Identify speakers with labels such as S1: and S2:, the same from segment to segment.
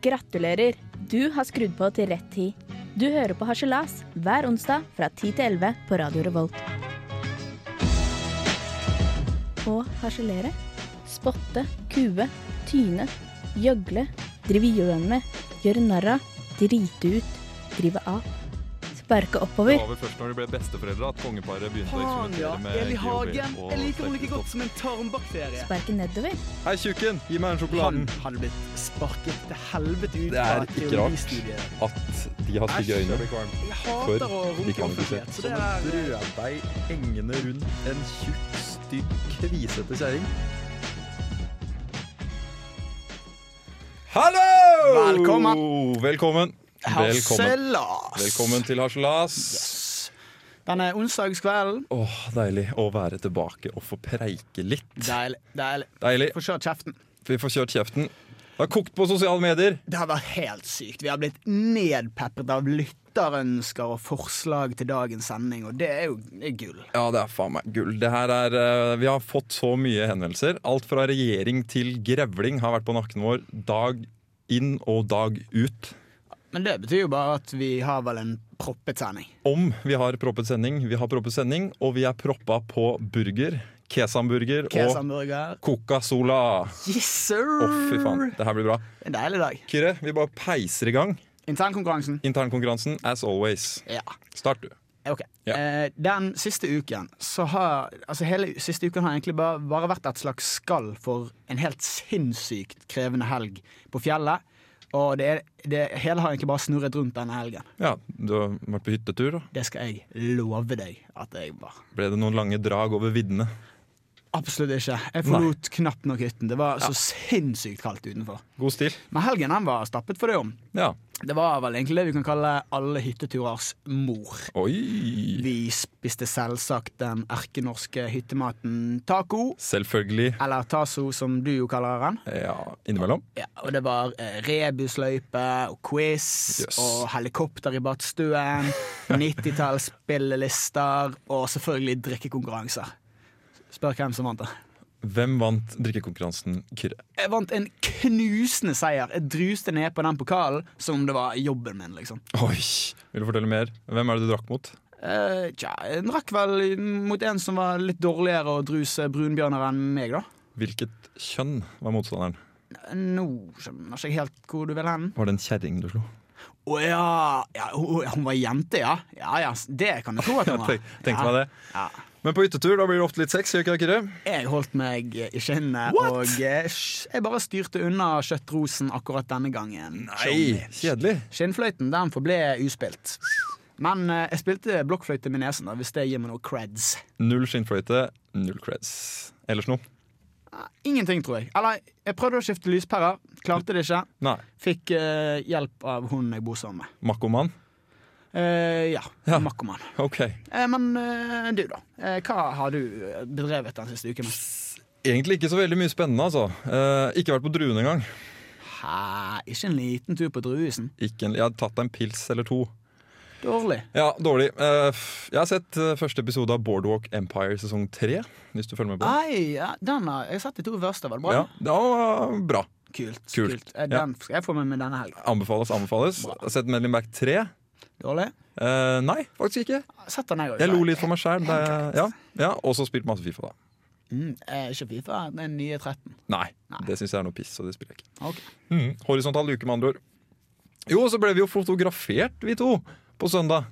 S1: Gratulerer! Du har skrudd på til rett tid. Du hører på Harselas hver onsdag fra 10 til 11 på Radio Revolt. Å harselere, spotte, kue, tyne, gjøgle, drive gjøn med, gjøre narr av, drite ut, drive av. Sparke
S2: Det
S1: oppover.
S2: var vel først når de ble besteforeldre at kongeparet begynte å
S3: Faen, ja.
S2: eksperimentere med
S3: Eli
S2: GHB
S3: Hagen.
S2: og
S3: Jeg liker henne like
S2: sterkere
S3: godt som en tarmbakterie.
S1: Sparke nedover.
S2: stoff. Hei, tjukken! Gi meg den
S3: Han
S2: sjokoladen!
S3: hadde blitt sparket til helvete ut
S2: Det er
S3: fra
S2: ikke rart.
S3: teoristudiet.
S2: At de har
S3: Æsj,
S2: stygge øyne.
S3: Jeg
S2: For
S3: hater å
S2: de
S3: runke
S2: kan ikke se. sånn
S3: offentlighet, så det er
S2: brød deg hengende rundt en tjukk, stygg, kvisete kjerring. Hallo!
S3: Velkommen.
S2: Velkommen. Velkommen.
S3: harselas.
S2: Velkommen til Harselas.
S3: Denne onsdagskvelden.
S2: Åh, deilig å være tilbake og få preike litt.
S3: Deilig. deilig.
S2: Deilig.
S3: Få kjørt kjeften.
S2: Vi får kjørt kjeften. Det har kokt på sosiale medier.
S3: Det har vært helt sykt. Vi har blitt nedpeppet av lytterønsker og forslag til dagens sending, og det er jo det er gull.
S2: Ja, det er faen meg gull. Det her er, eh, vi har fått så mye henvendelser. Alt fra regjering til grevling har vært på nakken vår dag inn og dag ut.
S3: Men det betyr jo bare at vi har vel en proppet sending.
S2: Om vi har proppet sending, vi har proppet sending, og vi er proppa på burger. Kesamburger og
S3: Kesamburger.
S2: Coca Sola.
S3: Yes, sir!
S2: Å, fy faen. Det her blir bra.
S3: En deilig dag.
S2: Kyrre, vi bare peiser i gang.
S3: Internkonkurransen.
S2: Internkonkurransen as always.
S3: Ja.
S2: Start, du.
S3: Ok.
S2: Ja.
S3: Eh, den siste uken så har Altså hele siste uken har egentlig bare, bare vært et slags skall for en helt sinnssykt krevende helg på fjellet. Og det, er, det hele har egentlig bare snurret rundt denne helgen.
S2: Ja, du har vært på hyttetur, da.
S3: Det skal jeg love deg at jeg var.
S2: Ble det noen lange drag over viddene?
S3: Absolutt ikke. Jeg forlot knapt nok hytten. Det var så sinnssykt kaldt utenfor.
S2: God stil.
S3: Men helgen den var stappet for det om.
S2: Ja.
S3: Det var vel egentlig det vi kan kalle alle hytteturers mor.
S2: Oi!
S3: Vi spiste selvsagt den erkenorske hyttematen taco.
S2: Selvfølgelig.
S3: Eller taso, som du jo kaller den.
S2: Ja, innimellom.
S3: Ja, og det var eh, rebusløype og quiz
S2: Yes.
S3: og helikopter i badstuen. 90-talls spillelister og selvfølgelig drikkekonkurranser. Spør hvem som vant det.
S2: Hvem vant drikkekonkurransen, Kyrre?
S3: Jeg vant en knusende seier. Jeg druste ned på den pokalen som om det var jobben min. liksom.
S2: Oi! Vil du fortelle mer? Hvem er det du drakk mot?
S3: Eh, tja, En rakk vel mot en som var litt dårligere å druse brunbjørner enn meg, da.
S2: Hvilket kjønn var motstanderen?
S3: Nå skjønner jeg ikke helt hvor du vil hen.
S2: Var det en kjerring du slo?
S3: Å ja. ja hun, hun var jente, ja. Ja, ja, Det kan du tro at hun var.
S2: Tenk, tenkte meg det.
S3: Ja.
S2: Men på hyttetur da blir det ofte litt sex, gjør ikke det, Kyrre?
S3: Jeg holdt meg i skinnet,
S2: What?
S3: og eh, sj- jeg bare styrte unna kjøttrosen akkurat denne gangen. Show me.
S2: Kjedelig.
S3: Skinnfløyten den forble uspilt. Men eh, jeg spilte blokkfløyte med nesen, da, hvis det gir meg noe creds.
S2: Null skinnfløyte, null creds. Ellers noe?
S3: Ingenting, tror jeg. Eller, jeg prøvde å skifte lyspærer, klarte det ikke.
S2: Nei.
S3: Fikk eh, hjelp av hun jeg bor sammen med.
S2: Makkoman?
S3: Eh, ja,
S2: Ja.
S3: Makkoman.
S2: Ok.
S3: Eh, men eh, du, da. Eh, hva har du eh, bedrevet den siste uken? med?
S2: Egentlig ikke så veldig mye spennende, altså. Eh, ikke vært på druen engang.
S3: Hæ, ikke en liten tur på druehusen?
S2: Ikke en- Jeg har tatt en pils eller to.
S3: Dårlig.
S2: Ja, dårlig. Eh, f- jeg har sett eh, første episode av Boardwalk Empire sesong tre. Hvis du følger med på den.
S3: Nei, ja, den har jeg sett de to første. Var det bra?
S2: Ja, det var bra.
S3: Kult.
S2: Kult.
S3: Eh, Den skal jeg få med meg denne helgen.
S2: Anbefales, anbefales. Jeg har sett Medley Back 3.
S3: Dårlig?
S2: Eh, nei, faktisk ikke.
S3: Sett den jeg òg.
S2: Jeg lo litt for meg sjæl. Ja, ja, og så spilt masse Fifa, da.
S3: Mm, eh, ikke Fifa, den nye 13.
S2: Nei,
S3: Nei.
S2: det syns jeg er noe piss, så det spiller jeg ikke.
S3: Ok.
S2: Mm, horisontal uke, med andre ord. Jo, så ble vi jo fotografert, vi to, på søndag.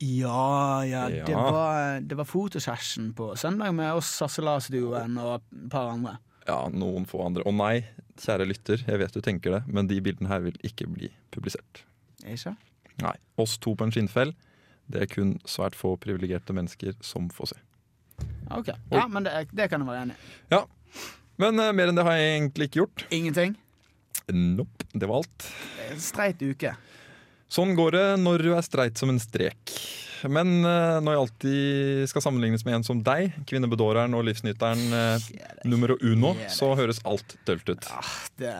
S3: Ja, ja,
S2: Ja.
S3: det var, det var fotosession på søndag med oss Sasselas-duoen og et par andre.
S2: Ja, noen få andre. Og nei, kjære lytter, jeg vet du tenker det, men de bildene her vil ikke bli publisert.
S3: Ikke?
S2: Nei. Oss to på en skinnfell, det er kun svært få privilegerte mennesker som får se.
S3: Ok, ja, men det, det kan jeg være enig i.
S2: Ja, men eh, mer enn det har jeg egentlig ikke gjort.
S3: Ingenting.
S2: Nope, det var alt.
S3: Eh, Streit uke.
S2: Sånn går det når du er streit som en strek. Men eh, når jeg alltid skal sammenlignes med en som deg, kvinnebedåreren og livsnyteren eh, numero uno,
S3: Kjære.
S2: så høres alt dølt ut.
S3: Ah, det,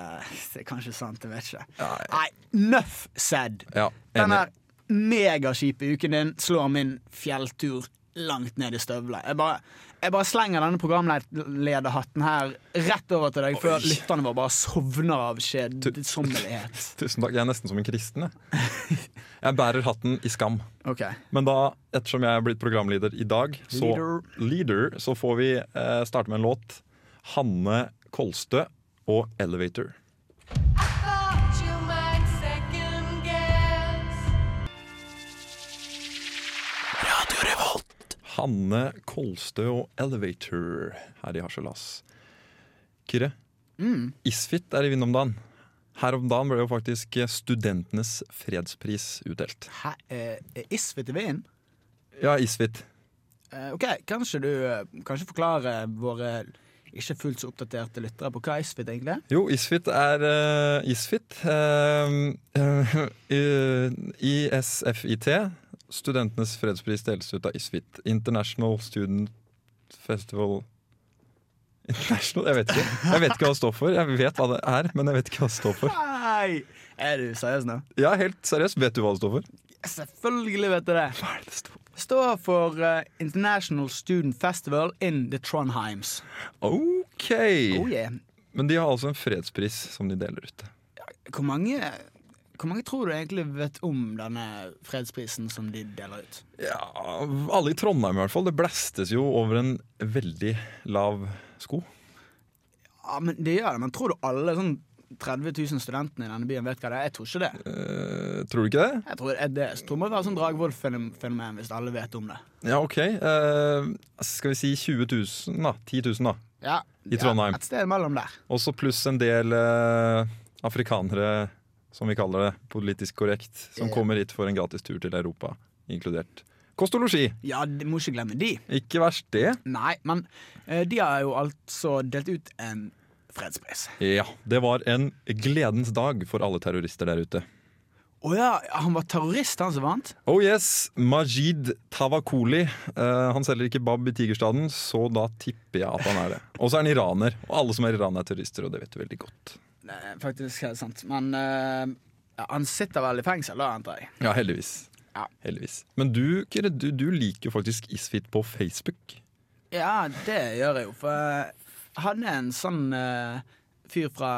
S3: det er kanskje sant, jeg vet ikke.
S2: Nei.
S3: Nei, nuff said.
S2: Ja,
S3: Den
S2: enig.
S3: her megaskipe uken din slår min fjelltur langt ned i støvlene. Jeg bare, jeg bare slenger denne programlederhatten her rett over til deg, før lytterne våre bare sovner av kjedsommelighet.
S2: Tusen takk. Jeg er nesten som en kristen. Jeg, jeg bærer hatten i skam.
S3: Ok.
S2: Men da, ettersom jeg er blitt programleder i dag, så, leader. så får vi eh, starte med en låt. Hanne Kolstø og 'Elevator'.
S4: thought you might second guess.
S2: Hanne Kolstø og 'Elevator' her i Harselas. Kyrre,
S3: Mm,
S2: Isfit er i vinden om dagen. Her om dagen ble jo faktisk Studentenes fredspris utdelt.
S3: Hæ? Eh, er Isfit i veien?
S2: Ja, Isfit.
S3: Eh, ok, kanskje du eh, kanskje forklarer våre ikke fullt så oppdaterte lyttere på hva Isfit egentlig er?
S2: Jo, Isfit er eh, Isfit. eh, eh, ISFIT. Studentenes fredspris deles ut av Isfit. International Student Festival International? Jeg vet ikke Jeg vet ikke hva det står for. Jeg vet hva det er, men jeg vet ikke hva det står for.
S3: Nei! Er du seriøs nå?
S2: Ja, helt seriøst, vet du hva det står for?
S3: Selvfølgelig vet du det.
S2: Hva er det det står for?
S3: Står for eh, International Student Festival in the Trondheims.
S2: OK!
S3: Oh yeah.
S2: Men de har altså en fredspris som de deler ut.
S3: Hvor mange, hvor mange tror du egentlig vet om denne fredsprisen som de deler ut?
S2: Ja, Alle i Trondheim i hvert fall. Det blæstes jo over en veldig lav sko.
S3: Ja, men det gjør det, men tror du alle sånn 30 000 studentene i denne byen vet hva det er? Jeg tror ikke det.
S2: Eh, tror du ikke det?
S3: Jeg tror, jeg, det, jeg tror det må være sånn Dragvoll-fenomen hvis alle vet om det.
S2: Ja, OK. Eh, skal vi si 20 000, da. 10 000, da.
S3: Ja,
S2: I Trondheim.
S3: Ja, et sted mellom der.
S2: Og så pluss en del eh, afrikanere, som vi kaller det politisk korrekt, som
S3: Ja.
S2: kommer hit for en gratis tur til Europa, inkludert kost og losji.
S3: Ja, de må ikke glemme de.
S2: Ikke verst, det.
S3: Nei, men eh, de har jo altså delt ut en fredspris.
S2: Ja, det var en gledens dag for alle terrorister der ute.
S3: Å ja, han var terrorist, han som vant?
S2: Oh yes, Majid Tavakoli. Eh, han selger ikke Bab i Tigerstaden, så da tipper jeg at han er det. Og så er han iraner, og alle som er iranere er terrorister, og det vet du veldig godt.
S3: Det er faktisk helt sant. Men eh, ja, han sitter vel i fengsel, da, antar jeg.
S2: Ja, heldigvis.
S3: Ja.
S2: Heldigvis. Men du, Kyrre, du, du liker jo faktisk Isfit på Facebook.
S3: Ja, det gjør jeg jo, for jeg hadde en sånn eh, fyr fra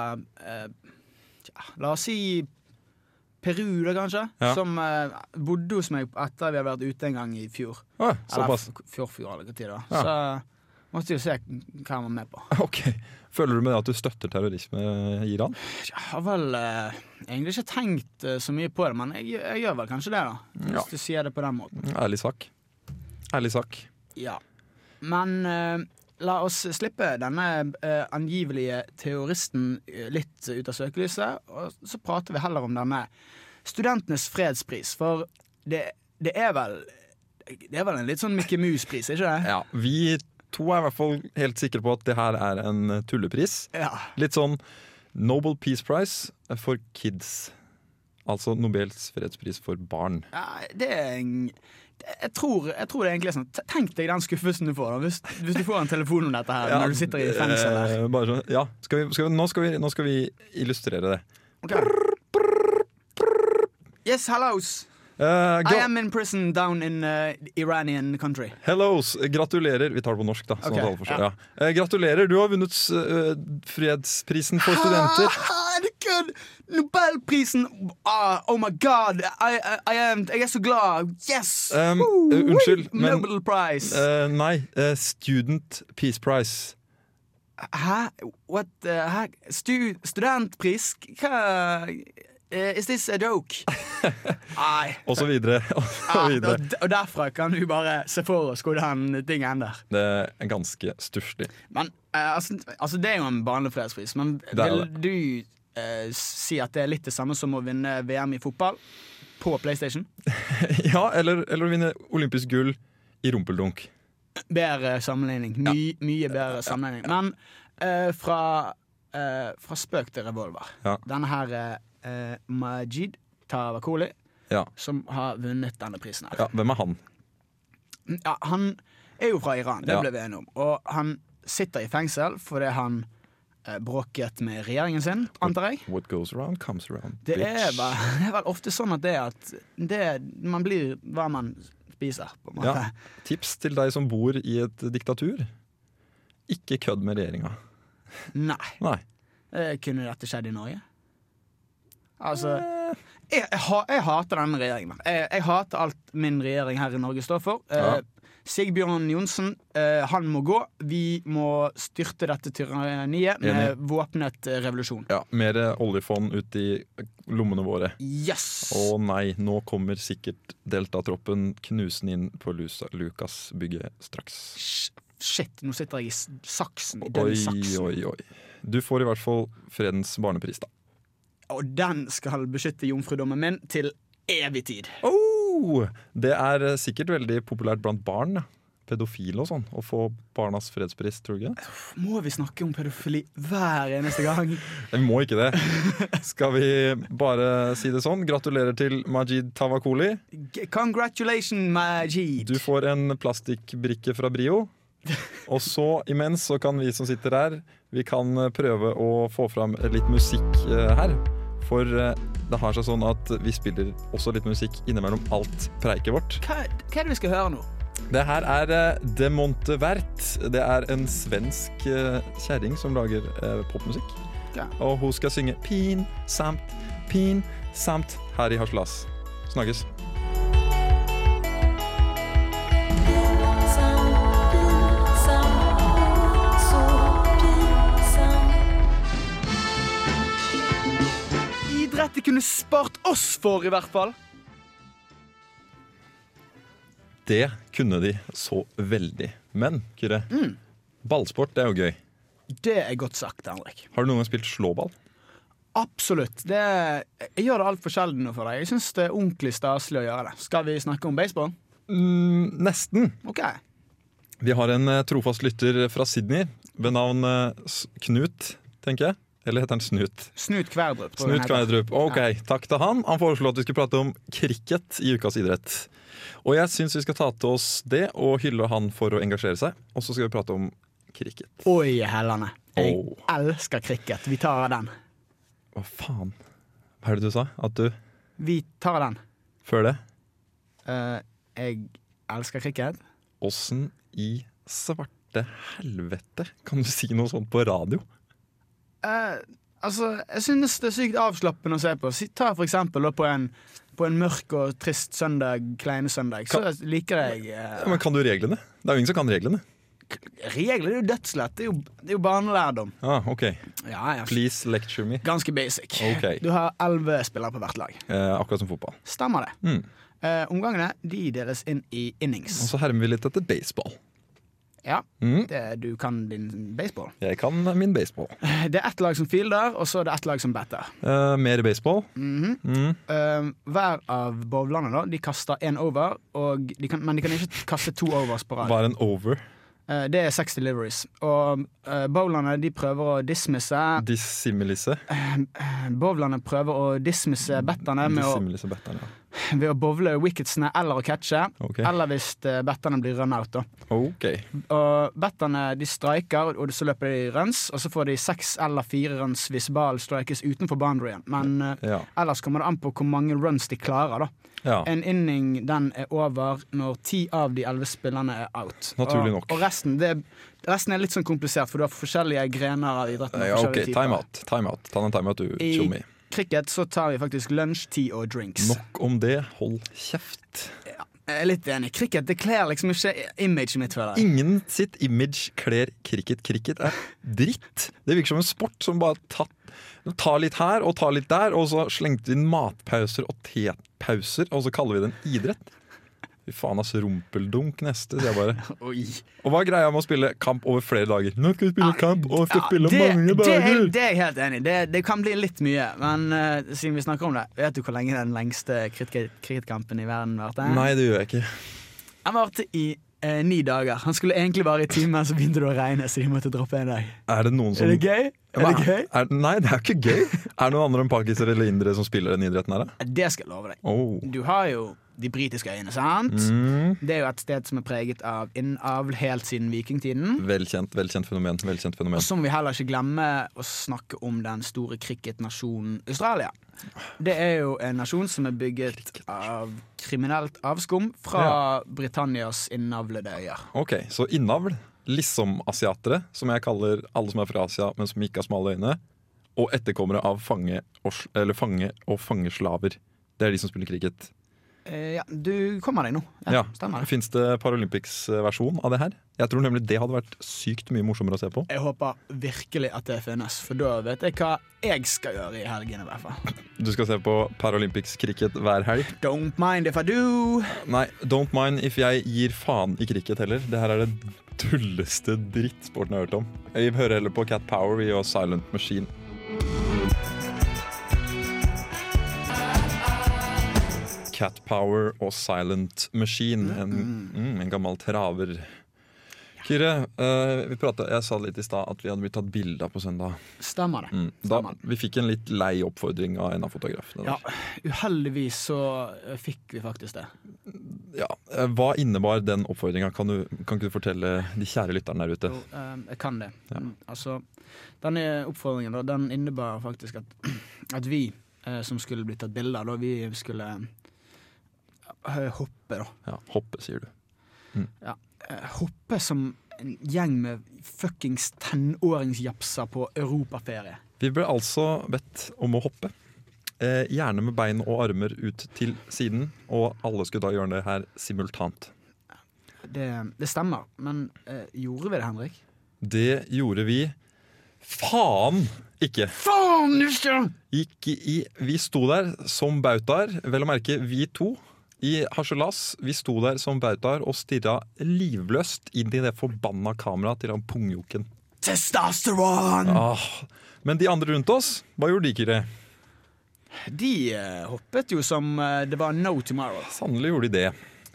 S3: eh, tja, La oss si Peru, da, kanskje?
S2: Ja.
S3: Som eh, bodde hos meg etter vi hadde vært ute en gang i fjor.
S2: Ah,
S3: Eller
S2: såpass.
S3: f- fjorfjor, eller hva tid det var.
S2: Ja.
S3: Så måtte jo se hva han var med på.
S2: Ok. Føler du med det at du støtter terrorisme i Iran?
S3: Jeg har vel eh, egentlig ikke tenkt eh, så mye på det, men jeg, jeg gjør vel kanskje det, da. Hvis
S2: Ja.
S3: du sier det på den måten.
S2: Ærlig sak. Ærlig sak.
S3: Ja. Men eh, la oss slippe denne eh, angivelige terroristen eh, litt ut av søkelyset, og så prater vi heller om denne studentenes fredspris, for det, det er vel det er vel en litt sånn Mickey Mouse-pris, ikke det?
S2: Ja, vi to er i hvert fall helt sikre på at det her er en tullepris.
S3: Ja.
S2: Litt sånn Nobel Peace Prize for kids. Altså Nobels fredspris for barn.
S3: ja det er en det- jeg tror, jeg tror det er egentlig er sånn t- Tenk deg den skuffelsen du får da, hvis, hvis du får en telefon om dette her når du sitter i fengsel. her.
S2: Eh, bare sånn, ja. Skal vi, skal vi, nå, skal vi, nå skal vi illustrere det.
S3: Ok. Yes, hellos.
S2: Eh,
S3: I
S2: gra
S3: am in prison down in uh, Iranian country.
S2: Hellos! Gratulerer. Vi tar det på norsk, da. Sånn
S3: Ok,
S2: at alle forstår.
S3: ja.
S2: Ja. Eh, gratulerer, du har vunnet s- eh, fredsprisen for studenter.
S3: Ah, det er kødd! Nobelprisen! Ah, oh my god! I, I, I am, jeg er så glad! Yes!
S2: Um,
S3: Woo!
S2: eh, unnskyld, men-
S3: Nobel Prize!
S2: Eh, nei, eh, Student Peace Prize.
S3: Hæ? What? Uh, hæ? Stu, studentpris? Hva eh, Is this a joke? Nei.
S2: Og så videre. Og så
S3: Ah,
S2: videre.
S3: og, og derfra kan du bare se for oss hvor den tingen ender.
S2: Det er ganske stusslig.
S3: Men eh, altså, altså Det er jo en vanlig fredspris, men
S2: Det er
S3: vil
S2: det.
S3: du eh, si at det er litt det samme som å vinne VM i fotball på PlayStation?
S2: Ja, eller, eller å vinne olympisk gull i rumpeldunk.
S3: Bedre sammenligning. My, Mye bedre sammenligning. Men eh, fra, eh, fra spøk til revolver.
S2: Ja.
S3: Denne her eh, Majid Tavakoli,
S2: Ja.
S3: som har vunnet denne prisen. her
S2: ja. Hvem er han?
S3: ja, Han er jo fra Iran, det
S2: Ja.
S3: ble vi enige om. Og han sitter i fengsel fordi han eh, bråket med regjeringen sin, antar jeg.
S2: What goes around comes around,
S3: Det
S2: bitch.
S3: er, vel, det er vel ofte sånn at det er at det, man blir hva man spiser. på en måte.
S2: Ja. Tips til deg som bor i et diktatur. Ikke kødd med regjeringa.
S3: Nei.
S2: Nei.
S3: Eh, Kunne dette skjedd i Norge? Altså
S2: Eh.
S3: Jeg, jeg, ha- jeg hater denne regjeringen. Jeg, jeg hater alt min regjering her i Norge står for. Eh,
S2: Ja.
S3: Sigbjørn Johnsen, eh, han må gå. Vi må styrte dette tyranniet med væpnet eh, revolusjon.
S2: Ja, Mer oljefond ut i lommene våre.
S3: Yes!
S2: Å nei, nå kommer sikkert deltatroppen knusende inn på Lusa- Lukas-bygget straks.
S3: Sh- Shit, nå sitter jeg i s- saksen. I den
S2: Oi,
S3: saksen.
S2: oi, oi. Du får i hvert fall Fredens barnepris, da.
S3: Og den skal beskytte jomfrudommen min til evig tid.
S2: Oh, det er eh, sikkert veldig populært blant barn. ja. Pedofile og sånn. Å få Barnas fredspris, tror du ikke? det?
S3: Må vi snakke om pedofili hver eneste gang?
S2: Vi må ikke det. Skal vi bare si det sånn? Gratulerer til Majid Tavakoli.
S3: G- Congratulations, Majid.
S2: Du får en plastikkbrikke fra Brio. Og så imens så kan vi som sitter her, vi kan eh, prøve å få fram litt musikk eh, her. For eh, det har seg sånn at vi spiller også litt musikk innimellom alt preiket vårt.
S3: Hva, hva er det vi skal høre nå?
S2: Det her er eh, De Monte Vert. Det er en svensk eh, kjerring som lager eh, popmusikk.
S3: Ja.
S2: Og hun skal synge pinsamt, pinsamt her i Haslas. Snakkes.
S3: Idrett de kunne spart oss for, i hvert fall.
S2: Det kunne de så veldig. Men, Kyrre, ballsport det er jo gøy.
S3: Det er godt sagt, Henrik.
S2: Har du noen gang spilt slåball?
S3: Absolutt. Det, jeg gjør det altfor sjelden nå for deg. Jeg syns det er ordentlig staselig å gjøre det. Skal vi snakke om baseball?
S2: Mm, nesten.
S3: OK.
S2: Vi har en eh, trofast lytter fra Sydney ved navn eh, S- Knut, tenker jeg. Eller heter han Snut?
S3: Snut Kverdrup. tror jeg
S2: Knut
S3: den heter.
S2: Kveidrup. Ok, takk til han. Han foreslo at vi skulle prate om cricket i ukas idrett. Og jeg syns vi skal ta til oss det og hylle han for å engasjere seg. Og så skal vi prate om cricket.
S3: Oi, hellene. Jeg
S2: Åh.
S3: elsker cricket. Vi tar den.
S2: Hva faen? Hva er det du sa? At du
S3: Vi tar den.
S2: Før det?
S3: Eh, jeg elsker cricket.
S2: Åssen i svarte helvete kan du si noe sånt på radio?
S3: Eh, altså, jeg synes det er sykt avslappende å se på. Si- Ta for eksempel da, på, en, på en mørk og trist søndag, kleine søndag, så liker jeg eh,
S2: Ja, men Kan du reglene? Det er jo ingen som kan reglene.
S3: Regler er jo dødslett. Det er jo, det er jo barnelærdom.
S2: Ah, ok.
S3: Ja, ja.
S2: Please lecture me.
S3: Ganske basic.
S2: Ok.
S3: Du har elleve spillere på hvert lag.
S2: Eh, akkurat som fotball.
S3: Stemmer det.
S2: Mm.
S3: Eh, omgangene de deles inn i innings.
S2: Og så hermer vi litt etter baseball.
S3: Ja,
S2: Mm.
S3: det, du kan din baseball.
S2: Jeg kan min baseball.
S3: Det er ett lag som fielder, og så er det ett lag som batter.
S2: Eh, mer baseball.
S3: Mhm.
S2: Mm.
S3: Eh, hver av bowlerne da, de kaster én over, og de kan, men de kan ikke kaste to overs på rad.
S2: Var en over.
S3: Eh, det er seks deliveries. Og eh, bowlerne de prøver å dismisse
S2: Dissimilise.
S3: Bowlerne prøver å dismisse betterne med å,
S2: Dissimilise batteren, ja.
S3: ved å bowle wicketsene eller å catche.
S2: Ok.
S3: Eller hvis eh, betterne blir run out. Da.
S2: ok.
S3: Og betterne de striker, og så løper de runs. Og så får de seks eller fire runs hvis ballen strikes utenfor boundaryen. Men eh,
S2: Ja.
S3: ellers kommer det an på hvor mange runs de klarer. da
S2: ja.
S3: En inning den er over når ti av de elleve spillerne er out.
S2: Naturlig
S3: og,
S2: nok.
S3: Og resten, det, resten er litt sånn komplisert, for du har forskjellige grener av idretten. og
S2: Ja, ok,
S3: forskjellige typer.
S2: Timeout. Time out. Ta den timeout, du
S3: I-
S2: tjommi.
S3: Cricket så tar vi faktisk lunsj, tea og drinks.
S2: Nok om det. Hold kjeft.
S3: Jeg er litt enig. Cricket det kler liksom ikke imaget mitt. føler jeg.
S2: Ingen sitt image kler cricket. Cricket er dritt. Det virker som en sport som bare tatt, tar litt her og tar litt der, og så slengte vi inn matpauser og tepauser, og så kaller vi det en idrett. Fy faen, ass. Rumpeldunk neste, sier jeg bare.
S3: Oi.
S2: Og hva er greia med å spille kamp over flere dager? Nå skal vi spille kamp, og vi skal
S3: Ja,
S2: spille
S3: det,
S2: mange
S3: det,
S2: dager!
S3: er- det er jeg helt enig i. Det, det kan bli litt mye. Men eh, siden vi snakker om det, vet du hvor lenge den lengste cricket- cricketkampen i verden eh? varte?
S2: Nei, det gjør jeg ikke.
S3: Den varte i eh, ni dager. Han skulle egentlig vare i timer, så begynte det å regne, så de måtte droppe en dag.
S2: Er det noen som
S3: Er det gøy? Er det gøy?
S2: Er, nei, det er ikke gøy. Er det noen andre enn pakisere eller indere som spiller den idretten her? da?
S3: Det skal jeg love deg.
S2: Oh.
S3: Du har jo de britiske øyene, sant?
S2: Mm.
S3: Det er jo et sted som er preget av innavl helt siden vikingtiden.
S2: Velkjent, velkjent fenomen. velkjent fenomen.
S3: Og så må vi heller ikke glemme å snakke om den store cricketnasjonen Australia. Det er jo en nasjon som er bygget av kriminelt avskum fra Britannias innavlede øyer.
S2: Ok, så innavl, liksom-asiatere, som jeg kaller alle som er fra Asia, men som ikke har smale øyne, og etterkommere av fange og, s- eller fange og fangeslaver. Det er de som spiller cricket.
S3: Eh, ja, du kommer deg nå.
S2: Ja,
S3: stemmer det.
S2: Fins det Paralympics-versjon av det her? Jeg tror nemlig det hadde vært sykt mye morsommere å se på.
S3: Jeg håper virkelig at det finnes, for da vet jeg hva jeg skal gjøre i helgen. i hvert fall.
S2: Du skal se på Paralympics-cricket hver helg.
S3: Don't mind if I do.
S2: Nei, don't mind if jeg gir faen i cricket heller. Det her er den tulleste drittsporten jeg har hørt om. Vi hører heller på Cat Power vi og Silent Machine. Cat Power og Silent Machine. En, mm, en gammel traver. Kyrre, eh, vi pratet, jeg sa litt i stad at vi hadde blitt tatt bilde av på søndag.
S3: Stemmer det.
S2: Mm. Da,
S3: Stemmer.
S2: vi fikk en litt lei oppfordring av en av fotografene. der.
S3: Ja, uheldigvis så eh, fikk vi faktisk det.
S2: Ja, eh, Hva innebar den oppfordringa? Kan, du- kan ikke du fortelle de kjære lytterne der ute?
S3: Jo, eh, jeg kan det. Mm, Altså, denne oppfordringen da, den innebar faktisk at, at vi eh, som skulle bli tatt bilde av, da, vi skulle eh, hoppe, da.
S2: Ja, hoppe, sier du.
S3: Eh, hoppe som en gjeng med fuckings tenåringsjapser på europaferie.
S2: Vi ble altså bedt om å hoppe. Eh, gjerne med bein og armer ut til siden, og alle skulle da gjøre det her simultant.
S3: Det, det stemmer, men eh, gjorde vi det, Henrik?
S2: Det gjorde vi faen ikke!
S3: Faen ikke!
S2: Gikk i, vi sto der som bautaer, vel å merke vi to. I harselas, vi sto der som bautaer og stirra livløst inn i det forbanna kameraet til han pungjoken.
S3: Testosteron!
S2: Ah, men de andre rundt oss, hva gjorde de, Kyrre?
S3: De eh, hoppet jo som eh, det var no tomorrow.
S2: Sannelig gjorde de det.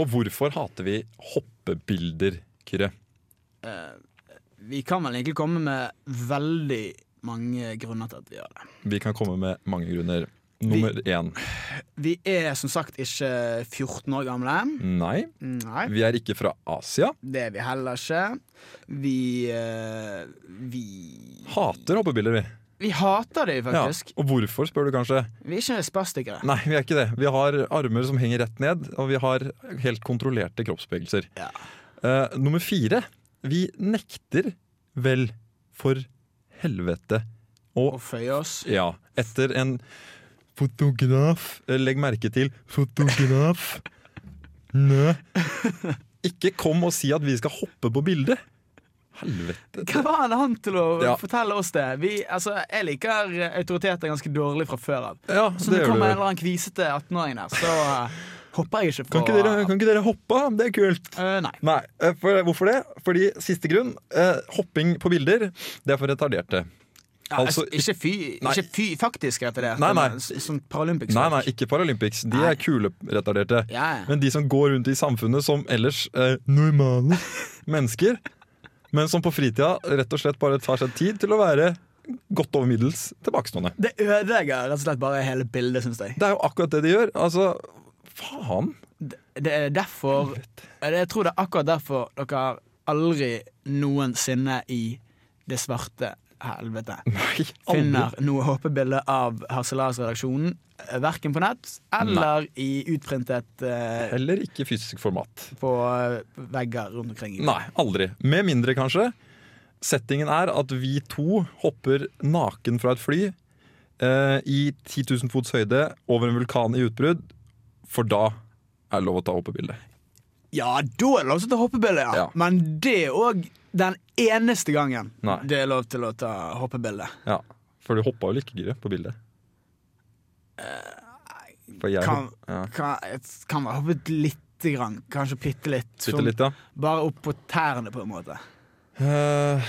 S2: Og hvorfor hater vi hoppebilder, Kyrre?
S3: Vi kan vel egentlig komme med veldig mange grunner til at vi gjør det.
S2: Vi kan komme med mange grunner. Nummer én
S3: Vi er som sagt ikke 14 år gamle.
S2: nei.
S3: Nei,
S2: Vi er ikke fra Asia.
S3: det er vi heller ikke. Vi eh, Vi,
S2: Hater hoppebilder, vi.
S3: vi hater det
S2: Ja.
S3: faktisk.
S2: Og hvorfor, spør du kanskje.
S3: Vi er ikke spastikere.
S2: Nei, vi er ikke det. Vi har armer som henger rett ned, og vi har helt kontrollerte kroppsbevegelser.
S3: Ja.
S2: Eh, nummer fire. Vi nekter vel for helvete å
S3: Og føyer oss.
S2: Ja, etter en fotograf eh, Legg merke til fotograf. Nø. Ikke kom og si at vi skal hoppe på bildet! Helvete.
S3: Hva var det han til å
S2: Ja.
S3: fortelle oss det? Vi, altså, jeg liker autoriteter ganske dårlig fra før av.
S2: Ja, det
S3: Så når det
S2: gjør
S3: kommer en
S2: du.
S3: eller annen kvisete 18-åring der, så eh, hopper jeg ikke på
S2: Kan ikke, dere, kan ikke dere hoppe? Det er kult.
S3: Eh, nei.
S2: Nei, eh, for, hvorfor det? Fordi siste grunn. eh, hopping på bilder, det er for retarderte.
S3: Ja,
S2: Altså,
S3: altså, ikke, fy,
S2: nei.
S3: ikke fy, faktisk heter det.
S2: Nei, nei.
S3: men s- Sånn Paralympics.
S2: Nei, nei, ikke Paralympics. De
S3: Nei.
S2: er kule-retarderte.
S3: Ja, ja.
S2: Men de som går rundt i samfunnet som ellers eh, normale mennesker, men som på fritida rett og slett bare tar seg tid til å være godt over middels tilbakestående.
S3: Det ødelegger rett og slett bare hele bildet, syns jeg.
S2: Det er jo akkurat det de gjør. Altså, faen!
S3: Det er derfor Jeg tror det er akkurat derfor dere aldri noensinne i det svarte helvete
S2: Nei, aldri.
S3: finner noe håpebilde av Harselas-redaksjonen. Verken på nett eller i utprintet eh,
S2: Heller ikke fysisk format.
S3: på eh, vegger rundt omkring.
S2: Nei, aldri. Med mindre, kanskje. Settingen er at vi to hopper naken fra et fly eh, i 10 000 fots høyde over en vulkan i utbrudd, for da er det lov å ta hoppebilde.
S3: Ja, da er det lov til å ta hoppebilde, ja.
S2: Ja.
S3: Men det er òg den eneste gangen
S2: Nei.
S3: det er lov til å ta hoppebilde.
S2: Ja, for du hoppa vel ikke, Gyrre, på bildet? For jeg
S3: Eh, kan-
S2: hop- ja.
S3: Kan, jeg kan være hoppet lite grann, kanskje bitte litt.
S2: Bitte litt, ja.
S3: Bare opp på tærne, på en måte.
S2: Eh,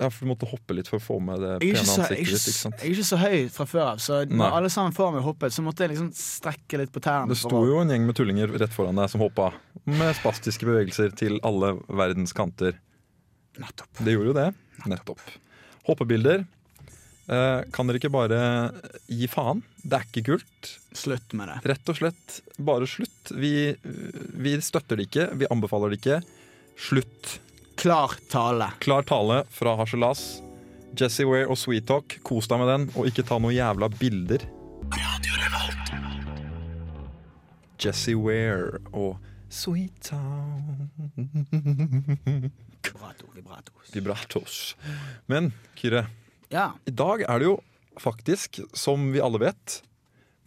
S2: ja, for du måtte hoppe litt for å få med det
S3: Jeg
S2: pene
S3: er ikke så, jeg
S2: ansiktet
S3: er
S2: ditt. ikke
S3: ikke, så-
S2: sant?
S3: jeg er ikke så høy fra før av, så
S2: Nei.
S3: når alle sammen får meg hoppet, så måtte jeg liksom strekke litt på tærne.
S2: Det
S3: for
S2: sto
S3: å-
S2: jo en gjeng med tullinger rett foran deg som hoppa med spastiske bevegelser til alle verdens kanter.
S3: Nettopp.
S2: Det gjorde jo det. Nettopp. Hoppebilder. Eh, kan dere ikke bare gi faen? Det er ikke kult.
S3: Slutt med det.
S2: Rett og slett bare slutt. Vi, vi støtter det ikke, vi anbefaler det ikke. Slutt.
S3: Klar tale.
S2: Klar tale fra Harselas. Jesse Ware og Sweet Talk, kos deg med den, og ikke ta noen jævla bilder. Jesse Ware og Sweet Town
S3: Vibrato, vibrato.
S2: Vibratos. Men Kyrre,
S3: Ja.
S2: i dag er det jo faktisk, som vi alle vet,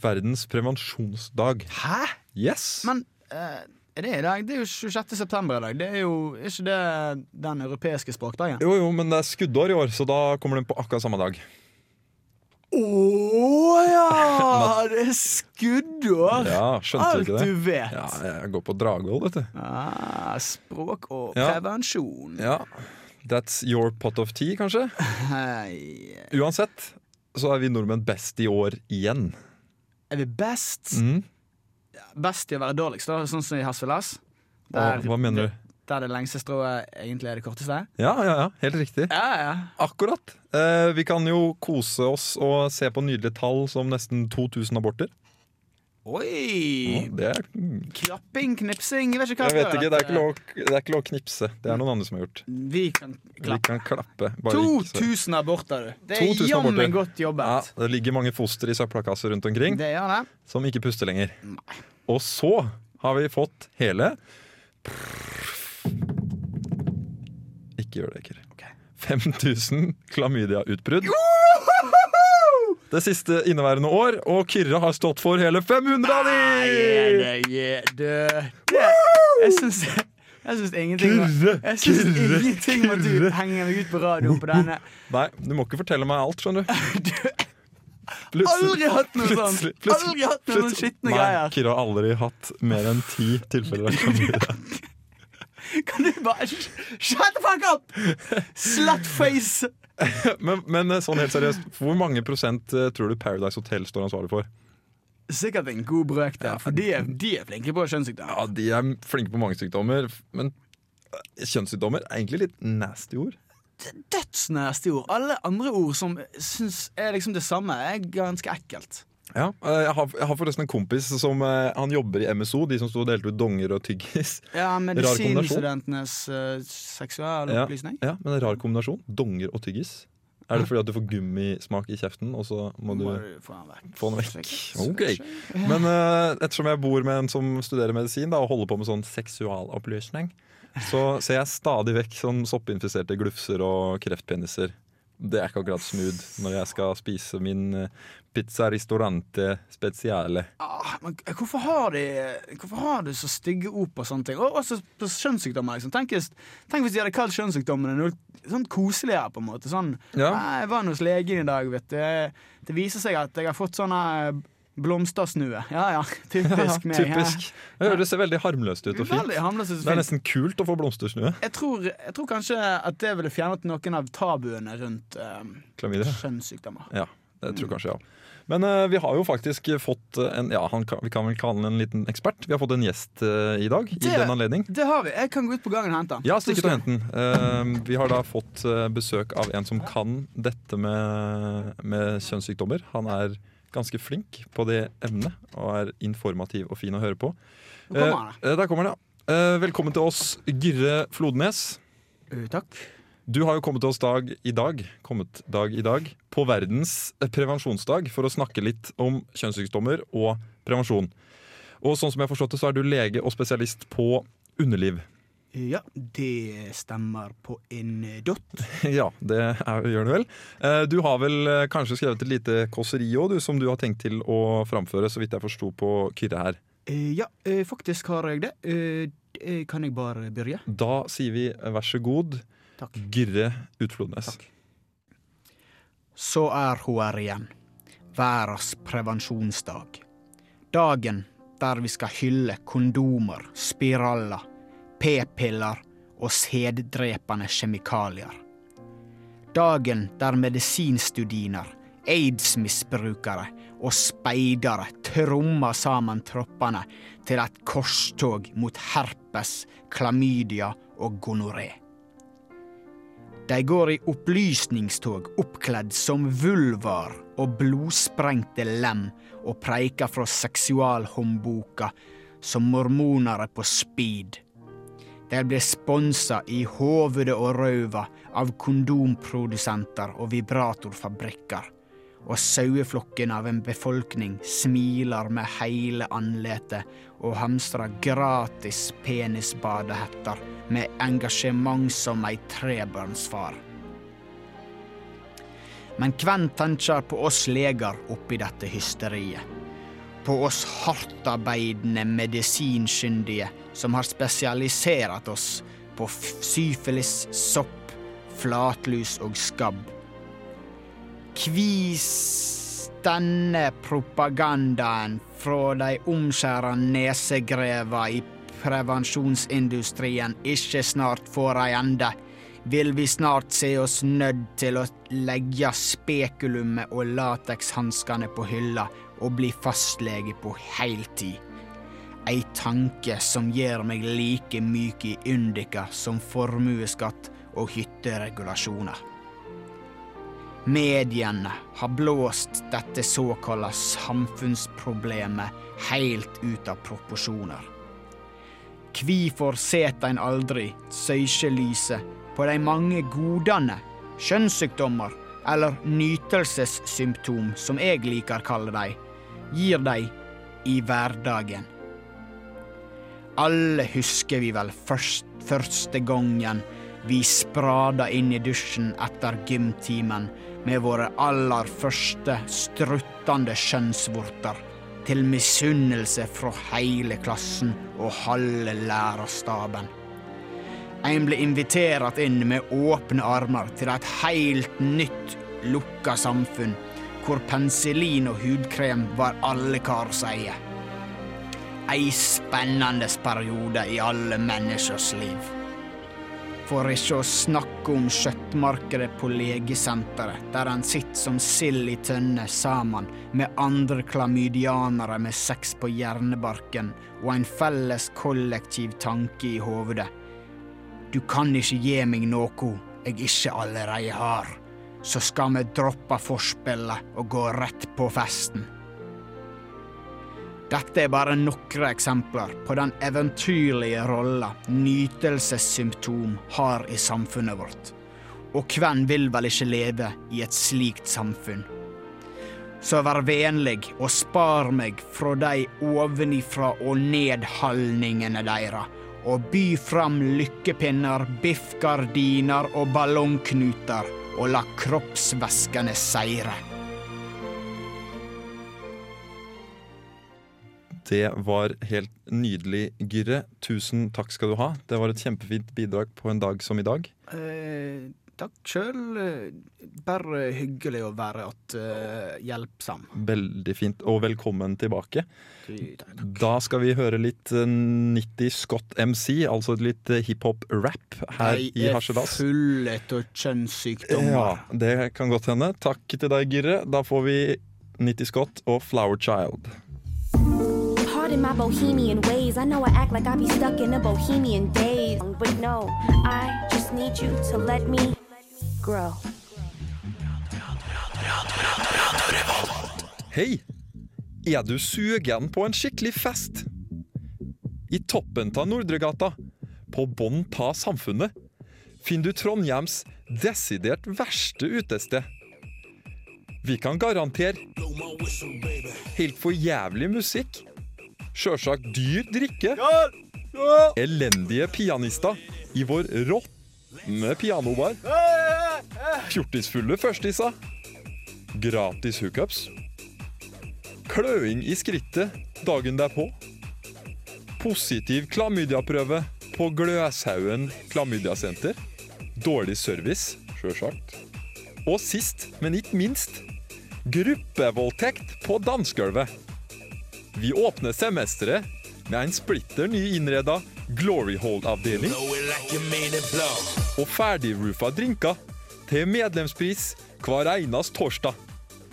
S2: verdens prevensjonsdag.
S3: Hæ?
S2: Yes!
S3: Men eh, er det i dag? Det er jo 26. september i dag. Det er jo er ikke det den europeiske språkdagen.
S2: Jo, jo, men det er skuddår i år, så da kommer den på akkurat samme dag.
S3: Å ja! Det er skuddår!
S2: Ja, skjønte du
S3: Alt
S2: ikke det?
S3: du vet.
S2: Ja, jeg går på Dragvoll, vet du.
S3: Ah, språk og
S2: Ja.
S3: prevensjon.
S2: Ja. That's your pot of tea, kanskje?
S3: Hei.
S2: Uansett så er vi nordmenn best i år igjen.
S3: Er vi best?
S2: Mm.
S3: Best i å være dårligst, da, sånn som i Hasselas?
S2: Og hva mener du?
S3: Der det lengste strået egentlig er det korteste?
S2: Ja, ja, ja, helt riktig.
S3: Ja, ja.
S2: Akkurat. Eh, vi kan jo kose oss og se på nydelige tall som nesten 2000 aborter.
S3: Oi!
S2: Ja, Det er, mm.
S3: Klapping, knipsing, jeg vet ikke hva
S2: jeg vet
S3: skal
S2: ikke, det
S3: gjøre
S2: er
S3: dette.
S2: ikke lov, det er ikke lov å knipse. Det er noen andre som har gjort.
S3: Vi kan
S2: Vi
S3: klappe.
S2: kan klappe. bare ikke så-
S3: 2000 aborter, du. Det
S2: 2000
S3: er jammen
S2: aborter.
S3: godt
S2: Ja,
S3: jobbet.
S2: det ligger mange foster i søppelkasser rundt omkring
S3: Det gjør det.
S2: som ikke puster lenger. Og så har vi fått hele Ikke gjør det, Kyrre. 5000 klamydiautbrudd. Det siste inneværende år, og Kyrre har stått for hele 500 av de!
S3: Yeah, yeah, yeah, du. Det- Jeg syns jeg syns ingenting var-
S2: Kyrre,
S3: Jeg syns
S2: Kyrre,
S3: ingenting må du
S2: Kyrre.
S3: henge meg ut på radioen på denne.
S2: Nei, du må ikke fortelle meg alt, skjønner du.
S3: Aldri hatt noe
S2: plutselig-
S3: sånt!
S2: plutselig-
S3: Aldri hatt noen
S2: plutselig-
S3: skitne
S2: Nei,
S3: greier.
S2: Kyrre har aldri hatt mer enn ti tilfeller av klamydia.
S3: Kan du bare sh- Shut the fuck up! Slutface!
S2: Men, men eh, sånn helt seriøst, hvor mange prosent eh, tror du Paradise Hotel står ansvarlig for?
S3: Sikkert en god brøkdel, for de er, de er flinke på kjønnssykdom.
S2: Ja, de er flinke på mange sykdommer, men eh, kjønnssykdommer er egentlig litt nasty ord.
S3: Dødsnasty ord. Alle andre ord som syns er liksom det samme, er ganske ekkelt.
S2: Ja, eh, jeg har, jeg har forresten en kompis som eh, han jobber i MSO, de som sto og delte ut donger og tyggis.
S3: Ja, Medisinstudentenes
S2: kombinasjon.
S3: uh, seksuelle
S2: Ja,
S3: opplysning.
S2: ja, men en rar kombinasjon. Donger og tyggis. Er det fordi at du får gummismak i kjeften, og så må du
S3: Må du få den vekk.
S2: få den vekk?
S3: Sikkert.
S2: Ok. Men eh, ettersom jeg bor med en som studerer medisin, da, og holder på med sånn seksualopplysning, så ser jeg stadig vekk sånn soppinfiserte glufser og kreftpeniser. Det er ikke akkurat smooth når jeg skal spise min eh, pizza ristorante speciale.
S3: Ah, men hvorfor har, de, hvorfor har du så stygge ord på sånne ting? Og også på kjønnssykdommer. Liksom. Tenk, hvis, tenk hvis de hadde kalt kjønnssykdommene noe sånn koseligere. på en måte sånn,
S2: Ja.
S3: «Nei, 'Jeg var hos legen i dag, vet du. Det viser seg at jeg har fått sånne eh, blomstersnue. Ja ja, typisk meg. ja.
S2: Typisk. Det høres veldig harmløst ut og fint.
S3: Veldig harmløst og
S2: Det er
S3: fint.
S2: nesten kult å få blomstersnue.
S3: Jeg tror, jeg tror kanskje at det ville fjernet noen av tabuene rundt eh,
S2: Klamydia.
S3: kjønnssykdommer.
S2: Ja, det tror jeg kanskje jeg ja. Men eh, vi har jo faktisk fått en ja, han kan, Vi kan vel kalle han en liten ekspert. Vi har fått en gjest eh, i dag i
S3: Det-
S2: den anledning.
S3: Det har vi. Jeg kan gå ut på gangen og hente den.
S2: Ja, stikk ut og hent den. Eh, vi har da fått eh, besøk av en som kan dette med, med kjønnssykdommer. Han er ganske flink på det emnet og er informativ og fin å høre på.
S3: Nå kommer han,
S2: Eh, eh, der kommer han, ja. Eh, velkommen til oss, Gyrre Flodnes.
S3: Eh, takk.
S2: Du har jo kommet til oss dag i dag, kommet dag i dag, på verdens prevensjonsdag for å snakke litt om kjønnssykdommer og prevensjon. Og sånn som jeg har forstått det, så er du lege og spesialist på underliv.
S3: Eh, Ja, det stemmer på en dott.
S2: ja, det er, gjør det vel. Eh, Du har vel eh, kanskje skrevet et lite kåseri òg, du, som du har tenkt til å framføre, så vidt jeg forsto på Kyrre her.
S3: Eh, Ja, eh, faktisk har jeg det. Eh, eh, Kan jeg bare begynne?
S2: Da sier vi eh, vær så god,
S3: Takk.
S2: Gyrre Utflodnes.
S3: Takk. Så er hun her igjen. Verdens prevensjonsdag. Dagen der vi skal hylle kondomer, spiraler, p-piller og sæddrepende kjemikalier. Dagen der medisinstudiner, aids-misbrukere og speidere trommer sammen troppene til et korstog mot herpes, klamydia og gonoré. De går i opplysningstog oppkledd som vulvar og blodsprengte lem og preiker fra seksualhåndboka som mormonere på speed. De blir sponsa i hovedet og røva av kondomprodusenter og vibratorfabrikker. Og saueflokken av en befolkning smiler med hele anletet og hamstrer gratis penisbadehetter med engasjement som ei trebarnsfar. Men hvem tenker på oss leger oppi dette hysteriet? på oss hardtarbeidende medisinkyndige som har spesialisert oss på f- syfilis, sopp, flatlus og skabb. Kvis denne propagandaen fra de omskjæra nesegreva i prevensjonsindustrien ikke snart får ei ende, vil vi snart se oss nødt til å legge spekulumet og latekshanskene på hylla og bli fastlege på heiltid. Ei tanke som gjør meg like myk i Undika som formuesskatt og hytteregulasjoner. Mediene har blåst dette såkalla samfunnsproblemet helt ut av proporsjoner. Hvorfor set ein aldri søkjelyset på de mange godene, kjønnssykdommer eller nytelsessymptom, som jeg liker kalle dei, gir dei i hverdagen? Alle husker vi vel først, første gangen vi sprada inn i dusjen etter gymtimen med våre aller første struttende skjønnsvorter, til misunnelse fra hele klassen og halve lærerstaben. En ble invitert inn med åpne armer til et helt nytt, lukka samfunn, hvor penicillin og hudkrem var alle kars eie. Ei spennende periode i alle menneskers liv. For ikke å snakke om kjøttmarkedet på legesenteret, der han sitter som sild i tønne sammen med andre klamydianere med sex på hjernebarken og en felles kollektiv tanke i hovedet. Du kan ikke gi meg noe jeg ikke allerede har. Så skal vi droppe forspillet og gå rett på festen. Dette er bare noen eksempler på den eventyrlige rolla nytelsessymptom har i samfunnet vårt. Og hvem vil vel ikke leve i et slikt samfunn? Så vær vennlig og spar meg fra de ovenifra og nedhalningene deira, og by fram lykkepinner, biffgardiner og ballongknuter, og la kroppsvæskene seire.
S2: Det var helt nydelig, Gyrre. Tusen takk skal du ha. Det var et kjempefint bidrag på en dag som i dag.
S3: Eh, takk sjøl. Eh, Bare hyggelig å være att hjelpsom.
S2: Veldig fint, og velkommen tilbake. Da skal vi høre litt eh, 90 Scott MC, altså litt eh, hiphop-rap her i Harselas.
S3: De er fulle av kjønnssykdommer.
S2: Ja, det kan godt hende. Takk til deg, Gyrre. Da får vi 90 Scott og Flower Child.
S5: Pardon my bohemian ways. I know I act like I be stuck in a bohemian daze. But no, I just need you to let me grow.
S2: Hei! Er du sugen på en skikkelig fest? I toppen ta Nordregata, på bånn ta samfunnet, finner du Trondheims desidert verste utested. Vi kan garantere helt for jævlig musikk, sjølsagt dyr drikke, elendige pianister i vår råtne pianobar, fjortisfulle førstiser, gratis hookups, Kløing i skrittet dagen derpå. Positiv klamydiaprøve på Gløshaugen klamydiasenter. Dårlig service, sjølsagt. Og sist, men ikke minst, gruppevoldtekt på dansegulvet. Vi åpner semesteret med en splitter ny innreda Glory Hold-avdeling og ferdigroofa drinker til medlemspris hver eneste torsdag.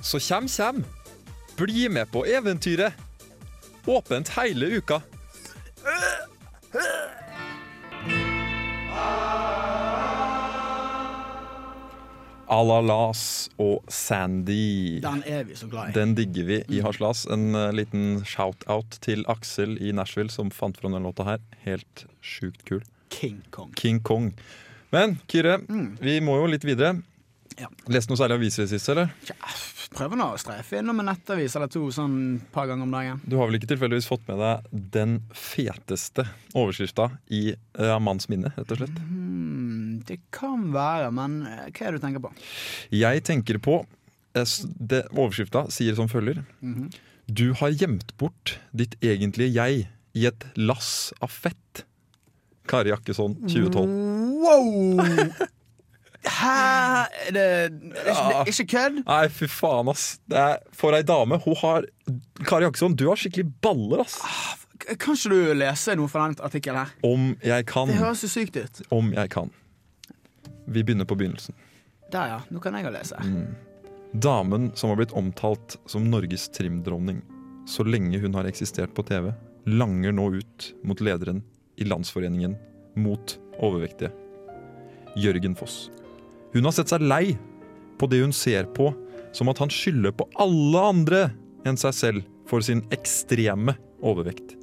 S2: Så kjem, kjem. Bli med på eventyret! Åpent hele uka. Alalas og Sandy.
S3: Den er vi så glad i.
S2: Den digger vi i Haslas. En eh, liten shout-out til Aksel i Nashville som fant fram den låta her. Helt sjukt kul.
S3: King Kong.
S2: King Kong. Men Kyrre, vi må jo litt videre.
S3: Ja.
S2: Leste noe særlig aviser sist, eller?
S3: Tja, prøver nå å streife innom en nettavis eller to sånn et par ganger om dagen.
S2: Du har vel ikke tilfeldigvis fått med deg den feteste overskrifta i eh, manns minne, rett og slett?
S3: Hmm, det kan være, men eh, hva er det du tenker på?
S2: Jeg tenker på eh, s- det, Overskrifta sier som følger. Du har gjemt bort ditt egentlige jeg i et lass av fett. Kari Jakkesson, 2012.
S3: Wow! Hæ? Er Det, det, er ikke, det er ikke kødd?
S2: Nei, fy faen, ass. Det er for ei dame. Hun har Kari Jakkesson, du har skikkelig baller, ass.
S3: K- Kan ikke du lese noe fra den artikkelen her?
S2: Om jeg kan.
S3: Det høres jo sykt ut.
S2: Om jeg kan. Vi begynner på begynnelsen.
S3: Der, ja. Nå kan jeg jo lese.
S2: Damen som har blitt omtalt som Norges trimdronning så lenge hun har eksistert på TV, langer nå ut mot lederen i Landsforeningen mot overvektige, Jørgen Foss. Hun har sett seg lei på det hun ser på som at han skylder på alle andre enn seg selv for sin ekstreme overvekt.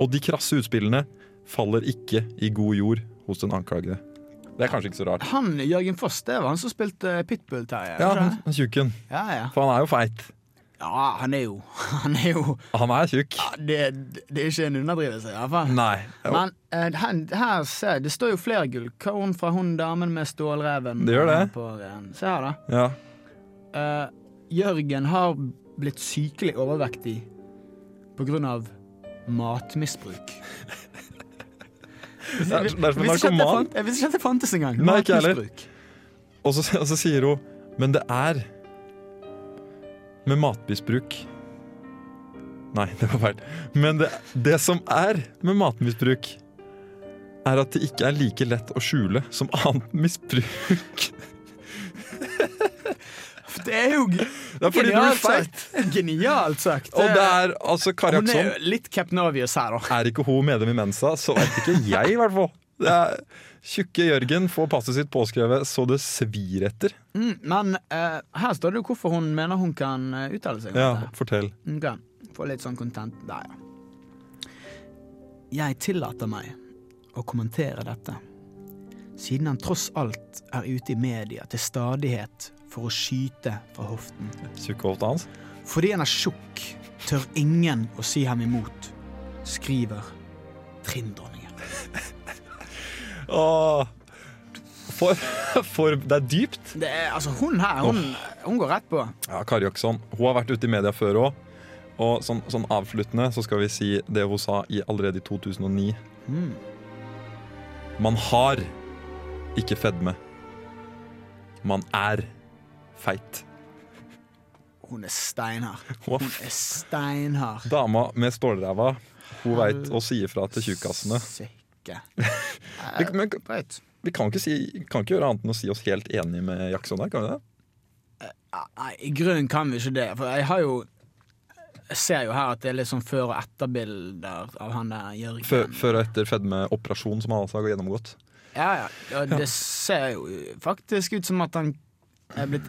S2: Og de krasse utspillene faller ikke i god jord hos den anklagede. Det er kanskje ikke så rart.
S3: Han Jørgen Foss, det var han som spilte Pitbull, Terje?
S2: Ja,
S3: var det ikke det?
S2: han tjukken.
S3: ja, ja.
S2: For han er jo feit.
S3: ja, han er jo Han er jo
S2: Han er tjukk.
S3: ja, det, det er ikke en underdrivelse, i hvert fall.
S2: Nei.
S3: Men eh, her, her ser jeg, det står jo flere gullkorn fra hun damen med stålreven.
S2: Det gjør det.
S3: På, eh, se her, da.
S2: ja.
S3: Eh, Jørgen har blitt sykelig overvektig på grunn av matmisbruk.
S2: det er som en
S3: Jeg visste ikke at det
S2: narkoman.
S3: fant- Jeg visste ikke at det fantes engang.
S2: Nei, ikke jeg heller.
S3: Matmisbruk.
S2: Og, så, og så sier hun Men det er med matmisbruk Nei, det var feil. Men det, det som er med matmisbruk, er at det ikke er like lett å skjule som annet misbruk.
S3: Det er jo g-
S2: Det er fordi du er
S3: genialt
S2: feit.
S3: sagt. Genialt sagt.
S2: Og det er altså Kari
S3: Hun er
S2: Jackson.
S3: jo litt Capnovius her, da.
S2: Er ikke hun medlem i Mensa, så vet ikke jeg, i hvert fall. Det er Tjukke Jørgen får passet sitt påskrevet så det svir etter.
S3: Mm, men eh, her står det jo hvorfor hun mener hun kan eh, uttale seg. om
S2: Ja,
S3: dette.
S2: fortell.
S3: Ok, få litt sånn content der, ja. Jeg tillater meg å kommentere dette, siden han tross alt er ute i media til stadighet for å skyte fra hoften.
S2: Tjukkehofta hans.
S3: Fordi han er tjukk, tør ingen å si ham imot, skriver trinndronningen.
S2: Åh. For, for det er dypt.
S3: Det er altså hun her, hun, hun går rett på.
S2: Ja, Kari Jaksson hun har vært ute i media før òg. Og sånn, sånn avsluttende så skal vi si det hun sa i, allerede i 2009. Hmm.
S3: Mm.
S2: Man har ikke fedme. Man er feit.
S3: Hun er steinhard.
S2: Hun er
S3: Hun
S2: f-
S3: er steinhard.
S2: Dama med stålræva. Hun veit å si ifra til tjukkassene.
S3: Sikke.
S2: Vi, men,
S3: Breit.
S2: vi kan, ikke si, kan ikke gjøre annet enn å si oss helt enige med Jaksson her, kan vi det?
S3: Nei, i grunnen kan vi ikke det. For jeg har jo Jeg ser jo her at det er litt sånn før- og etterbilder av han der Jørgen.
S2: Før, før og etter fedmeoperasjon som han altså har gjennomgått.
S3: Ja, ja. Og det ser jo faktisk ut som at han er blitt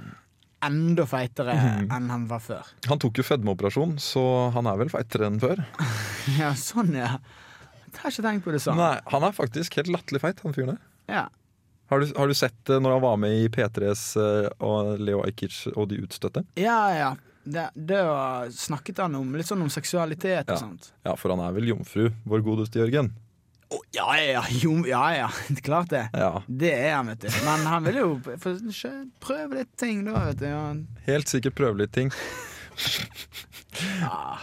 S3: enda feitere
S2: Mhm.
S3: enn han var før.
S2: Han tok jo fedmeoperasjon, så han er vel feitere enn før.
S3: Ja, sånn, ja. Jeg har ikke tenkt på det sånn.
S2: Nei, Han er faktisk helt latterlig feit, han fyren der.
S3: Ja.
S2: Har du, har du sett det når han var med i P3s eh, og Leo Ajkic og De utstøtte?
S3: ja, ja. Det, det var- snakket han om litt sånn om seksualitet og
S2: Ja.
S3: sånt.
S2: Ja, for han er vel jomfru, vår godeste Jørgen.
S3: Å, ja, ja, jo, ja, ja. Klart det.
S2: Ja,
S3: Det er han, vet du. Men han vil jo få- prøve litt ting, da, vet du. Ja.
S2: Helt sikkert prøve litt ting.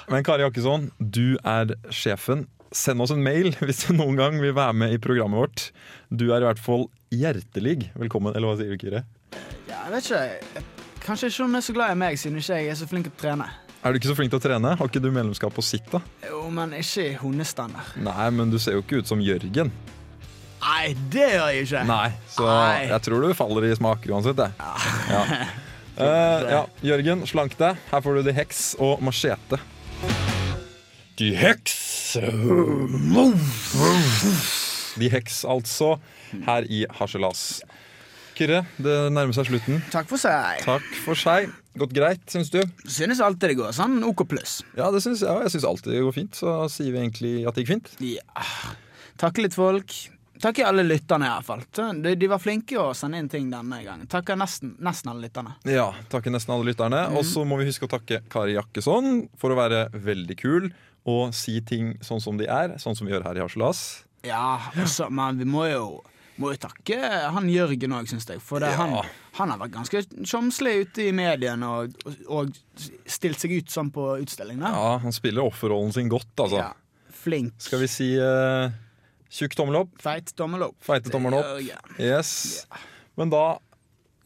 S2: Men Kari Jakkesson, du er sjefen. Send oss en mail hvis du noen gang vil være med i programmet vårt. Du er i hvert fall hjertelig velkommen. Eller hva sier du, Kyrre?
S3: Ja, jeg vet ikke. Kanskje ikke hun er så glad i meg, siden ikke jeg er så flink til å trene.
S2: Er du ikke så flink til å trene? Har ikke du medlemskap på sitt, da?
S3: Jo, men ikke i hundestandard.
S2: Nei, men du ser jo ikke ut som Jørgen.
S3: Nei, det gjør jeg ikke.
S2: Nei, så
S3: Nei.
S2: jeg tror du faller i smak uansett. Jeg. Ja. Eh, ja. Jørgen, slank deg. Her får du de heks og machete. De heks De heks, altså. Her i Harselas. Kyrre, det nærmer seg slutten.
S3: Takk for seg.
S2: Takk for seg. Gått greit, syns du?
S3: Synes alltid det går sånn OK pluss.
S2: Ja, det syns jeg. og Jeg syns alltid det går fint. Så sier vi egentlig at det gikk fint.
S3: Ja. Takke litt folk. Takke alle lytterne, i hvert fall. De, de var flinke å sende inn ting denne gangen. Takker nesten, nesten alle lytterne.
S2: Ja, takke nesten alle lytterne.
S3: Mhm.
S2: Og så må vi huske å takke Kari Jakkesson for å være veldig kul og si ting sånn som de er. Sånn som vi gjør her i Harselas.
S3: Ja, altså, men vi må jo, må jo takke han Jørgen òg, syns jeg. For det,
S2: Ja.
S3: han, han har vært ganske tjomslig ute i mediene og, og, og stilt seg ut sånn på utstillingene.
S2: Ja, han spiller offerrollen sin godt, altså.
S3: Ja, Flink.
S2: Skal vi si eh, tjukk tommel opp?
S3: Feit tommel opp.
S2: Feite tommelen opp.
S3: Ja,
S2: Yes. Men da,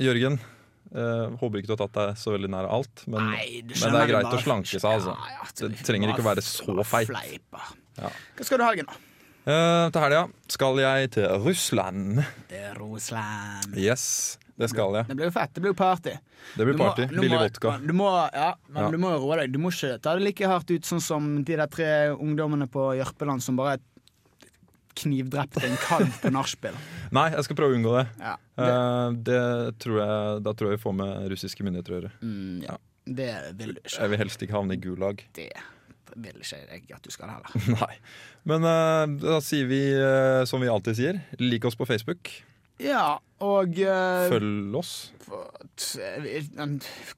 S2: Jørgen eh, Håper ikke du har tatt deg så veldig nær alt, men,
S3: Nei,
S2: men
S3: du
S2: det
S3: skjønner
S2: er greit
S3: bare-
S2: å slanke seg, altså.
S3: Ja, ja,
S2: det trenger ikke å
S3: var-
S2: være
S3: var
S2: så feit.
S3: Fleiper.
S2: Ja.
S3: Hva skal du i helgen, da?
S2: Eh, til helga skal jeg til Russland.
S3: Det er Russland.
S2: Yes, det skal jeg.
S3: Det blir jo fett. Det blir jo party.
S2: Det blir
S3: Du må-
S2: party.
S3: du
S2: Billig
S3: må-
S2: vodka.
S3: Du må, ja, men
S2: Ja.
S3: du må jo roe deg. Du må ikke ta det like hardt ut sånn som de der tre ungdommene på Jørpeland som bare knivdrepte en kalv på nachspiel.
S2: Nei, jeg skal prøve å unngå det.
S3: Ja, det,
S2: Eh, det tror jeg, da tror jeg vi får med russiske myndigheter å gjøre.
S3: mm, ja. det vil du ikke.
S2: Jeg vil helst ikke havne i Gulag.
S3: Det vil ikke jeg at du skal heller.
S2: Nei. Men eh, da sier vi eh, som vi alltid sier, lik oss på Facebook.
S3: Ja, og eh,
S2: Følg oss.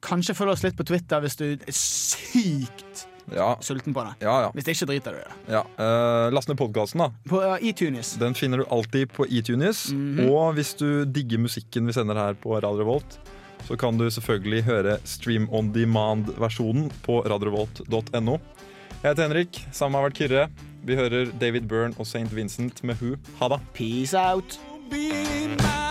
S3: Kanskje følg oss litt på Twitter hvis du er sykt
S2: Ja,
S3: sulten på det.
S2: ja, ja.
S3: Hvis ikke driter du i det.
S2: ja. Eh, last ned podkasten, da.
S3: På eh, iTunes.
S2: Den finner du alltid på iTunes. Og hvis du digger musikken vi sender her på Radio Revolt, så kan du selvfølgelig høre Stream on Demand-versjonen på radiorevolt.no. Jeg heter Henrik, sammen har vært Kyrre. Vi hører David Byrne og St. Vincent med Who. Ha det.
S3: Peace out.
S6: be my